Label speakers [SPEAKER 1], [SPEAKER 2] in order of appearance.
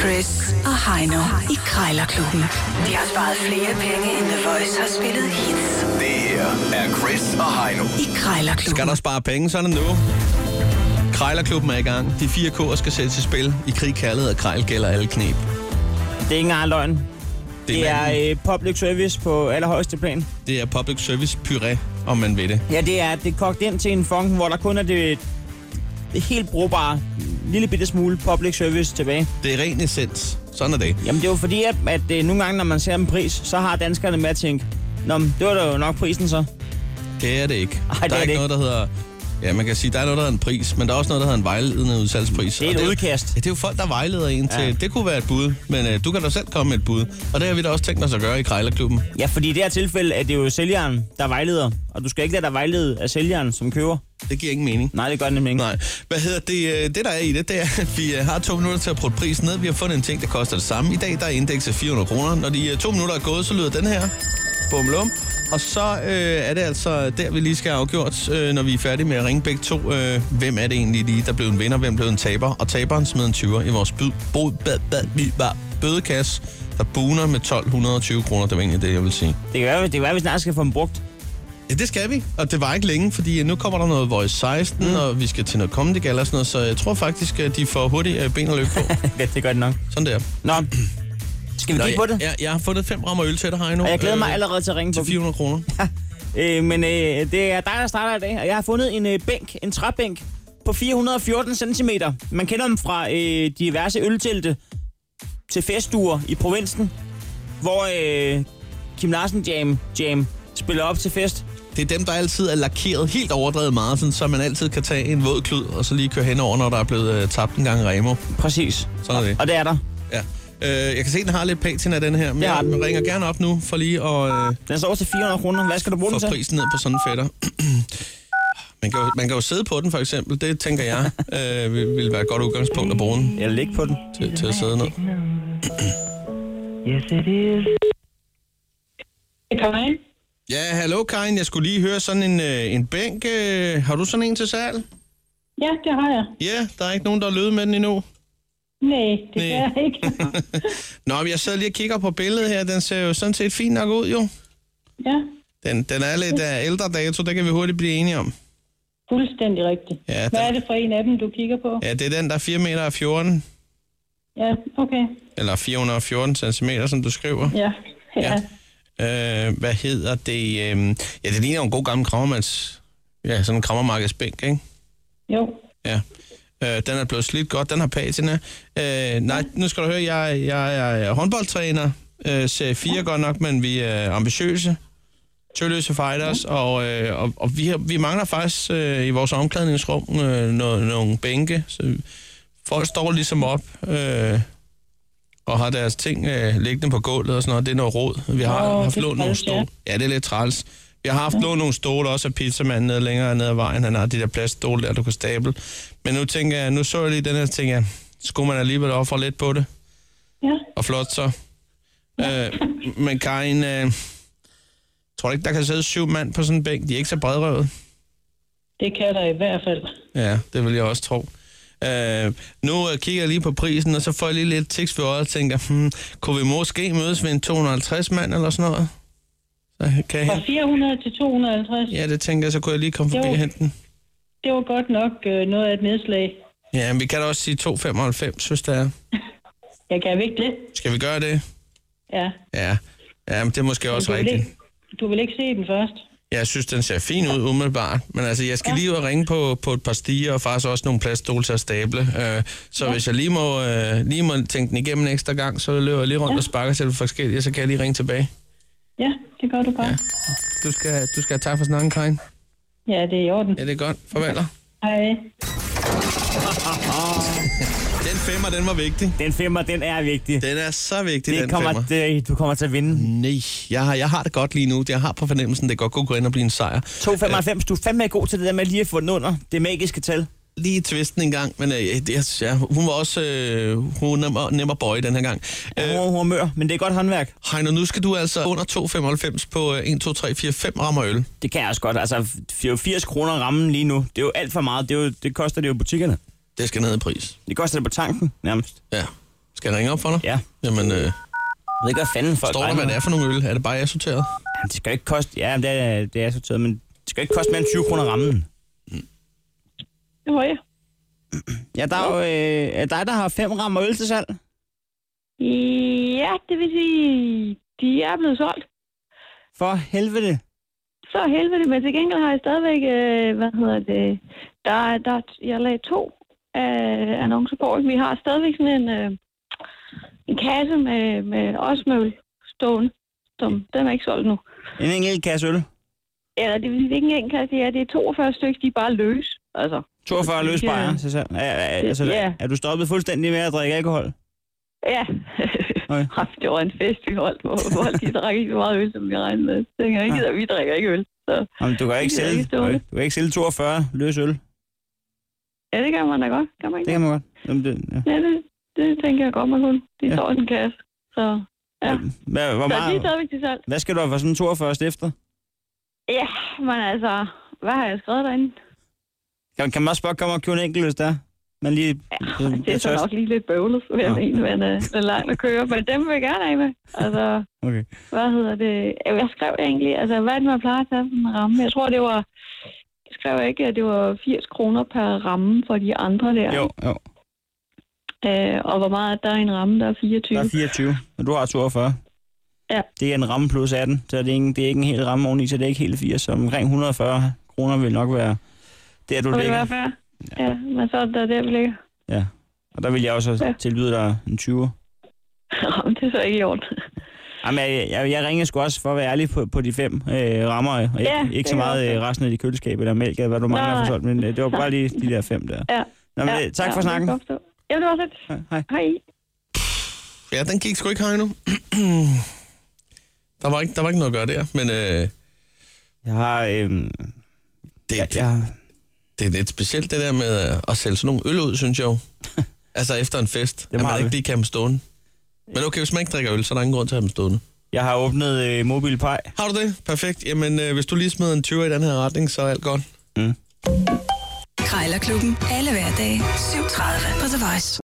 [SPEAKER 1] Chris og Heino i Krejlerklubben. De har sparet flere penge, end The Voice har spillet hits
[SPEAKER 2] Det her er Chris og Heino.
[SPEAKER 1] i Krejlerklubben.
[SPEAKER 3] Skal der spare penge, så er det nu. Krejlerklubben er i gang. De fire K'er skal sættes i spil. I krig, kærlighed og krejl gælder alle knep.
[SPEAKER 4] Det er ikke engang løgn. Det
[SPEAKER 3] en anden-
[SPEAKER 4] er øh, public service på allerhøjeste plan.
[SPEAKER 3] det er public service puré, om man ved det.
[SPEAKER 4] Ja, det er, det er kogt ind til en funk, hvor der kun er det, det helt brugbare, lille bitte smule public service tilbage.
[SPEAKER 3] Det er ren essens. Sådan er det.
[SPEAKER 4] Jamen det er jo fordi, at, at øh, nogle gange, når man ser en pris, så har danskerne med at tænke, Nå, men det var da jo nok prisen så.
[SPEAKER 3] Det er det ikke.
[SPEAKER 4] Ej,
[SPEAKER 3] der
[SPEAKER 4] det er
[SPEAKER 3] er, ikke
[SPEAKER 4] det ikke.
[SPEAKER 3] noget, der hedder... Ja, man kan sige, der er noget, der hedder en pris, men der er også noget, der hedder en vejledende udsalgspris.
[SPEAKER 4] Det
[SPEAKER 3] Og
[SPEAKER 4] er et
[SPEAKER 3] jo-
[SPEAKER 4] udkast.
[SPEAKER 3] Ja, det er jo folk, der vejleder en til.
[SPEAKER 4] Ja.
[SPEAKER 3] Det kunne være et bud, men øh, du kan da selv komme med et bud. Og det har vi da også tænkt os at gøre i Krejlerklubben.
[SPEAKER 4] Ja, fordi i det her tilfælde er det jo sælgeren, der vejleder. Og du skal ikke lade dig vejlede af sælgeren, som køber.
[SPEAKER 3] Det giver ingen mening.
[SPEAKER 4] Nej, det gør det nemlig ikke.
[SPEAKER 3] Nej. Hvad hedder det? øh, Det, der er i det, det er, at vi øh, har to minutter til at putte prisen ned. Vi har fundet en ting, der koster det samme. I dag, der er indekset 400 kroner. Når de øh, to minutter er gået, så lyder den her. Bum lum. Og så øh, er det altså der, vi lige skal have afgjort, øh, når vi er færdige med at ringe begge to. Øh, hvem er det egentlig lige, der blev en vinder, hvem blev en taber? Og taberen smed en 20'er i vores byd, bod, bad, bad, bad, bad, bødekasse, der buner med 1220 kroner. Det var egentlig det, jeg vil sige.
[SPEAKER 4] Det kan være, det kan være, at vi snart skal få dem brugt.
[SPEAKER 3] Ja, det skal vi. Og det var ikke længe, fordi øh, nu kommer der noget Voice 16, mm. og vi skal til noget Comedy Gala og sådan noget, så jeg tror faktisk, at de får hurtigt øh, ben og løb på.
[SPEAKER 4] Ja, det gør det nok.
[SPEAKER 3] Sådan der.
[SPEAKER 4] Nå, skal vi kigge på det?
[SPEAKER 3] Jeg, jeg har fundet fem rammer øl til dig, Heino. Øh,
[SPEAKER 4] Og jeg glæder mig allerede til at ringe på
[SPEAKER 3] til
[SPEAKER 4] dem.
[SPEAKER 3] 400 kroner.
[SPEAKER 4] Øh, men øh, det er dig, der starter i dag, og jeg har fundet en øh, bænk, en træbænk på 414 cm. Man kender dem fra øh, diverse øltelte til festuer i provinsen, hvor øh, Kim Larsen Jam, Jam spiller op til fest.
[SPEAKER 3] Det er dem, der altid er lakeret helt overdrevet meget, sådan, så man altid kan tage en våd klud, og så lige køre henover, når der er blevet øh, tabt en gang Remo.
[SPEAKER 4] Præcis.
[SPEAKER 3] Sådan er det.
[SPEAKER 4] Og det er der.
[SPEAKER 3] Ja. Øh, jeg kan se, den har lidt patina, den her, men
[SPEAKER 4] Det har
[SPEAKER 3] jeg
[SPEAKER 4] den.
[SPEAKER 3] ringer gerne op nu, for lige at... Øh,
[SPEAKER 4] Den står til 400 kroner. Hvad skal du bruge den
[SPEAKER 3] få
[SPEAKER 4] til?
[SPEAKER 3] prisen ned på sådan en fætter. Man kan, jo, man kan jo sidde på den, for eksempel. Det tænker jeg øh, vil, vil være et godt udgangspunkt at bruge den
[SPEAKER 4] Jeg læg på den.
[SPEAKER 3] til, til at sidde ned.
[SPEAKER 5] Yes, it is.
[SPEAKER 6] Det kommer ind.
[SPEAKER 3] Ja, hallo Karin. Jeg skulle lige høre sådan en, øh, en bænk. Øh, har du sådan en til salg?
[SPEAKER 6] Ja, det har jeg.
[SPEAKER 3] Ja, der er ikke nogen, der har løbet med den endnu.
[SPEAKER 6] Nej, det
[SPEAKER 3] Næ.
[SPEAKER 6] kan jeg ikke.
[SPEAKER 3] Nå, men jeg sidder lige og kigger på billedet her. Den ser jo sådan set fint nok ud, jo.
[SPEAKER 6] Ja,
[SPEAKER 3] Den, den er lidt af ældre dato, det kan vi hurtigt blive enige om.
[SPEAKER 6] fuldstændig rigtigt.
[SPEAKER 3] Ja,
[SPEAKER 6] Hvad
[SPEAKER 3] den-
[SPEAKER 6] er det for en af dem, du kigger på?
[SPEAKER 3] Ja, det er den, der er 4 meter og 14,
[SPEAKER 6] Ja, okay.
[SPEAKER 3] eller 414 cm, som du skriver.
[SPEAKER 6] Ja, ja.
[SPEAKER 3] Ja. Øh, hvad hedder det? Øh, ja, det ligner jo en god gammel krammermands... Ja, sådan en krammermarkedsbænk, ikke?
[SPEAKER 6] Jo.
[SPEAKER 3] Ja. Øh, den er blevet slidt godt, den har patina. Øh, nej, nu skal du høre, jeg, jeg, jeg er håndboldtræner. Øh, serie 4 godt nok, men vi er ambitiøse. Tølløse fighters, og, øh, og, og vi, har, vi mangler faktisk øh, i vores omklædningsrum øh, nogle, nogle bænke. Så folk står ligesom op øh, og har deres ting øh, liggende på gulvet og sådan noget. Det er noget råd. Vi har
[SPEAKER 6] Åh,
[SPEAKER 3] oh, haft
[SPEAKER 6] det er
[SPEAKER 3] lånt nogle
[SPEAKER 6] træls, ja.
[SPEAKER 3] stole. Ja, det er lidt træls. Jeg har haft lånt nogle stole også af pizzamanden nede længere ned ad vejen. Han har de der plaststole der, du kan stable. Men nu tænker jeg, nu så jeg lige den her, tænker jeg, skulle man alligevel ofre lidt på det?
[SPEAKER 6] Ja,
[SPEAKER 3] Og flot så. Øh, men Karin, øh, tror du ikke, der kan sidde syv mand på sådan en bænk? De er ikke så bredrøvet.
[SPEAKER 6] det kan der i hvert fald.
[SPEAKER 3] Ja, det vil jeg også tro. Øh, nu øh, kigger jeg lige på prisen, og så får jeg lige lidt tiks for øjet og tænker, hmm, kunne vi måske mødes ved en 250 mand eller sådan noget? Så kan jeg
[SPEAKER 6] Fra
[SPEAKER 3] hente?
[SPEAKER 6] 400 til 250, ja.
[SPEAKER 3] Ja, det tænker jeg, så kunne jeg lige komme forbi
[SPEAKER 6] Jo.
[SPEAKER 3] og hente den.
[SPEAKER 6] det var godt nok øh, noget af et nedslag.
[SPEAKER 3] Ja, men vi kan da også sige 295, hvis det er.
[SPEAKER 6] Jeg kan ikke det.
[SPEAKER 3] Skal vi gøre det?
[SPEAKER 6] Ja.
[SPEAKER 3] Ja. Ja, men det er måske også
[SPEAKER 6] du, vil
[SPEAKER 3] rigtigt.
[SPEAKER 6] ikke, du vil ikke se den først.
[SPEAKER 3] Jeg synes, den ser fin ud umiddelbart, men altså, jeg skal lige ud og ringe på, på et par stiger, og faktisk også nogle plaststole til at stable. Øh, så ja. hvis jeg lige må, øh, lige må tænke den igennem en ekstra gang, så løber jeg lige rundt ja. og sparker til det forskellige, så kan jeg lige ringe tilbage.
[SPEAKER 6] Ja, det gør du godt.
[SPEAKER 3] Du skal, du skal have tak for snakken, Karin.
[SPEAKER 6] Ja, ja det er i orden.
[SPEAKER 3] Ja, det er godt. Farvel.
[SPEAKER 6] Hej.
[SPEAKER 3] Den femmer, den var vigtig.
[SPEAKER 4] Den femmer, den er vigtig.
[SPEAKER 3] Den er så vigtig,
[SPEAKER 4] Det
[SPEAKER 3] den
[SPEAKER 4] kommer,
[SPEAKER 3] femmer. Mm.
[SPEAKER 4] det, du kommer til at vinde.
[SPEAKER 3] Nej, jeg har, jeg har det godt lige nu. Jeg har på fornemmelsen, det godt kunne gå ind og blive en sejr.
[SPEAKER 4] 2,95. Du er fandme god til det der med lige at få den under. Det magiske tal.
[SPEAKER 3] lige tvisten en gang, men øh, jeg, jeg, ja, hun var også øh, hun var nem, at- nem at bøje den her gang. Øh,
[SPEAKER 4] Øh. humør, men det er godt håndværk.
[SPEAKER 3] Heino, nu skal du altså under 2,95 på øh, 1, 2, 3, 4, 5 rammer øl.
[SPEAKER 4] Det kan jeg også godt. Altså, det er jo 80 kroner rammen lige nu. Det er jo alt for meget. Det, er jo, det koster det jo i butikkerne.
[SPEAKER 3] Det skal ned i pris.
[SPEAKER 4] Det koster det på tanken, nærmest.
[SPEAKER 3] Ja. Skal jeg ringe op for dig?
[SPEAKER 4] Ja.
[SPEAKER 3] Jamen, øh,
[SPEAKER 4] Jeg ved ikke, hvad fanden folk
[SPEAKER 3] står der,
[SPEAKER 4] regner
[SPEAKER 3] hvad det er for nogle øl? Er det bare assorteret?
[SPEAKER 4] med. Jamen, det skal jo ikke koste... Ja, det er, det er sorteret, men det skal jo ikke koste mere end 20 kroner rammen.
[SPEAKER 6] Det var jeg.
[SPEAKER 4] Ja, der er jo øh, er dig, der har fem rammer øl til salg.
[SPEAKER 6] Ja, det vil sige, de er blevet solgt.
[SPEAKER 4] For helvede.
[SPEAKER 6] Så er helvede, men til gengæld har jeg stadigvæk, øh, hvad hedder det, der, der, jeg lagde to øh, annoncer på. ikke? Vi har stadigvæk sådan en, øh, en kasse med, med osmøl stående, som den er ikke solgt nu.
[SPEAKER 4] En enkelt kasse øl.
[SPEAKER 6] Eller det vil sige, det er ikke en enkelt kasse, det er, det er 42 stykker, de er bare løs. Altså,
[SPEAKER 4] 42 løs bajer til salg. Er, er, altså,
[SPEAKER 6] Ja.
[SPEAKER 4] er du stoppet fuldstændig med at drikke alkohol?
[SPEAKER 6] ja.
[SPEAKER 4] Okay.
[SPEAKER 6] Ej, det var en fest, vi holdt, hvor folk de drak ikke så meget øl, som vi regnede med. Så tænkte jeg, ikke, vi drikker ikke øl. Så,
[SPEAKER 4] Jamen, du kan ikke
[SPEAKER 6] Det er
[SPEAKER 4] sælge,
[SPEAKER 6] ikke
[SPEAKER 4] du,
[SPEAKER 6] stående.
[SPEAKER 4] du kan ikke sælge 42 løs øl.
[SPEAKER 6] ja, det gør man da godt, gør man ikke?
[SPEAKER 4] Det kan man godt. Jamen, det, ja.
[SPEAKER 6] Ja, det, det tænker jeg godt, man kunne. De
[SPEAKER 4] Ja.
[SPEAKER 6] ja. står i en kasse. Så, ja.
[SPEAKER 4] Hvad, hvor
[SPEAKER 6] så de er
[SPEAKER 4] meget,
[SPEAKER 6] stadigvæk til salg.
[SPEAKER 4] hvad skal du have for sådan 42 stifter?
[SPEAKER 6] Ja, men altså, hvad har jeg skrevet derinde?
[SPEAKER 4] Kan, kan man også bare komme og købe en enkelt, hvis der er? Man lige... Ja,
[SPEAKER 6] Det er så nok lige lidt bøvlet, vil jeg
[SPEAKER 4] Nå.
[SPEAKER 6] mene, men øh, det er langt at køre. Men dem vil jeg gerne af med. Altså,
[SPEAKER 4] Okay.
[SPEAKER 6] hvad hedder det? Øh, Hvad skrev jeg egentlig? Altså, hvad er det, man plejer at tage for en ramme? Jeg tror, det var... Jeg skrev ikke, at det var 80 kroner per ramme for de andre der.
[SPEAKER 4] Jo, jo.
[SPEAKER 6] Øh, og hvor meget er der i en ramme? Der er 24.
[SPEAKER 4] Der er 24, og du har 42.
[SPEAKER 6] Ja.
[SPEAKER 4] Det er en ramme plus 18, så det er ikke, det er ikke en hel ramme oveni, så det er ikke helt 80. Så omkring 140 kroner vil nok være der, du
[SPEAKER 6] Må det
[SPEAKER 4] ligger.
[SPEAKER 6] være fair? Ja. ja, men så er det der, der vi ligger.
[SPEAKER 4] Ja. Og der vil jeg også
[SPEAKER 6] Ja.
[SPEAKER 4] tilbyde dig en 20.
[SPEAKER 6] Jamen, det er så ikke i orden.
[SPEAKER 4] Jamen, jeg, jeg, jeg ringer sgu også for at være ærlig på, på de fem øh, rammer, og ikke,
[SPEAKER 6] Ja,
[SPEAKER 4] ikke
[SPEAKER 6] det
[SPEAKER 4] så
[SPEAKER 6] er
[SPEAKER 4] meget
[SPEAKER 6] også
[SPEAKER 4] øh, resten af de køleskaber eller mælk, eller hvad du mangler for
[SPEAKER 6] Nej.
[SPEAKER 4] sådan, men øh, det var bare lige de der fem der.
[SPEAKER 6] Ja.
[SPEAKER 4] Nå, men, øh, tak for
[SPEAKER 6] det kan
[SPEAKER 4] snakken.
[SPEAKER 6] jeg godt forstå. Jamen, det var så lidt.
[SPEAKER 4] Hej, Hej.
[SPEAKER 6] Hej.
[SPEAKER 3] Ja, den gik sgu ikke høj nu. der, var ikke, der var ikke noget at gøre der, men øh,
[SPEAKER 4] Jeg har... Øh,
[SPEAKER 3] det,
[SPEAKER 4] jeg, jeg,
[SPEAKER 3] det er lidt specielt det der med øh, at sælge sådan nogle øl ud, synes jeg jo. altså efter en fest, at man
[SPEAKER 4] meget
[SPEAKER 3] ikke
[SPEAKER 4] det.
[SPEAKER 3] lige kan have dem stående. Men okay, hvis man ikke drikker øl, så er der ingen grund til at have dem stående.
[SPEAKER 4] jeg har åbnet øh, MobilePay.
[SPEAKER 3] Har du det? Perfekt. Jamen, øh, hvis du lige smider en 20 i den her retning, så er alt godt.
[SPEAKER 1] Krejlerklubben. Alle hverdage. 7.30 på The Voice.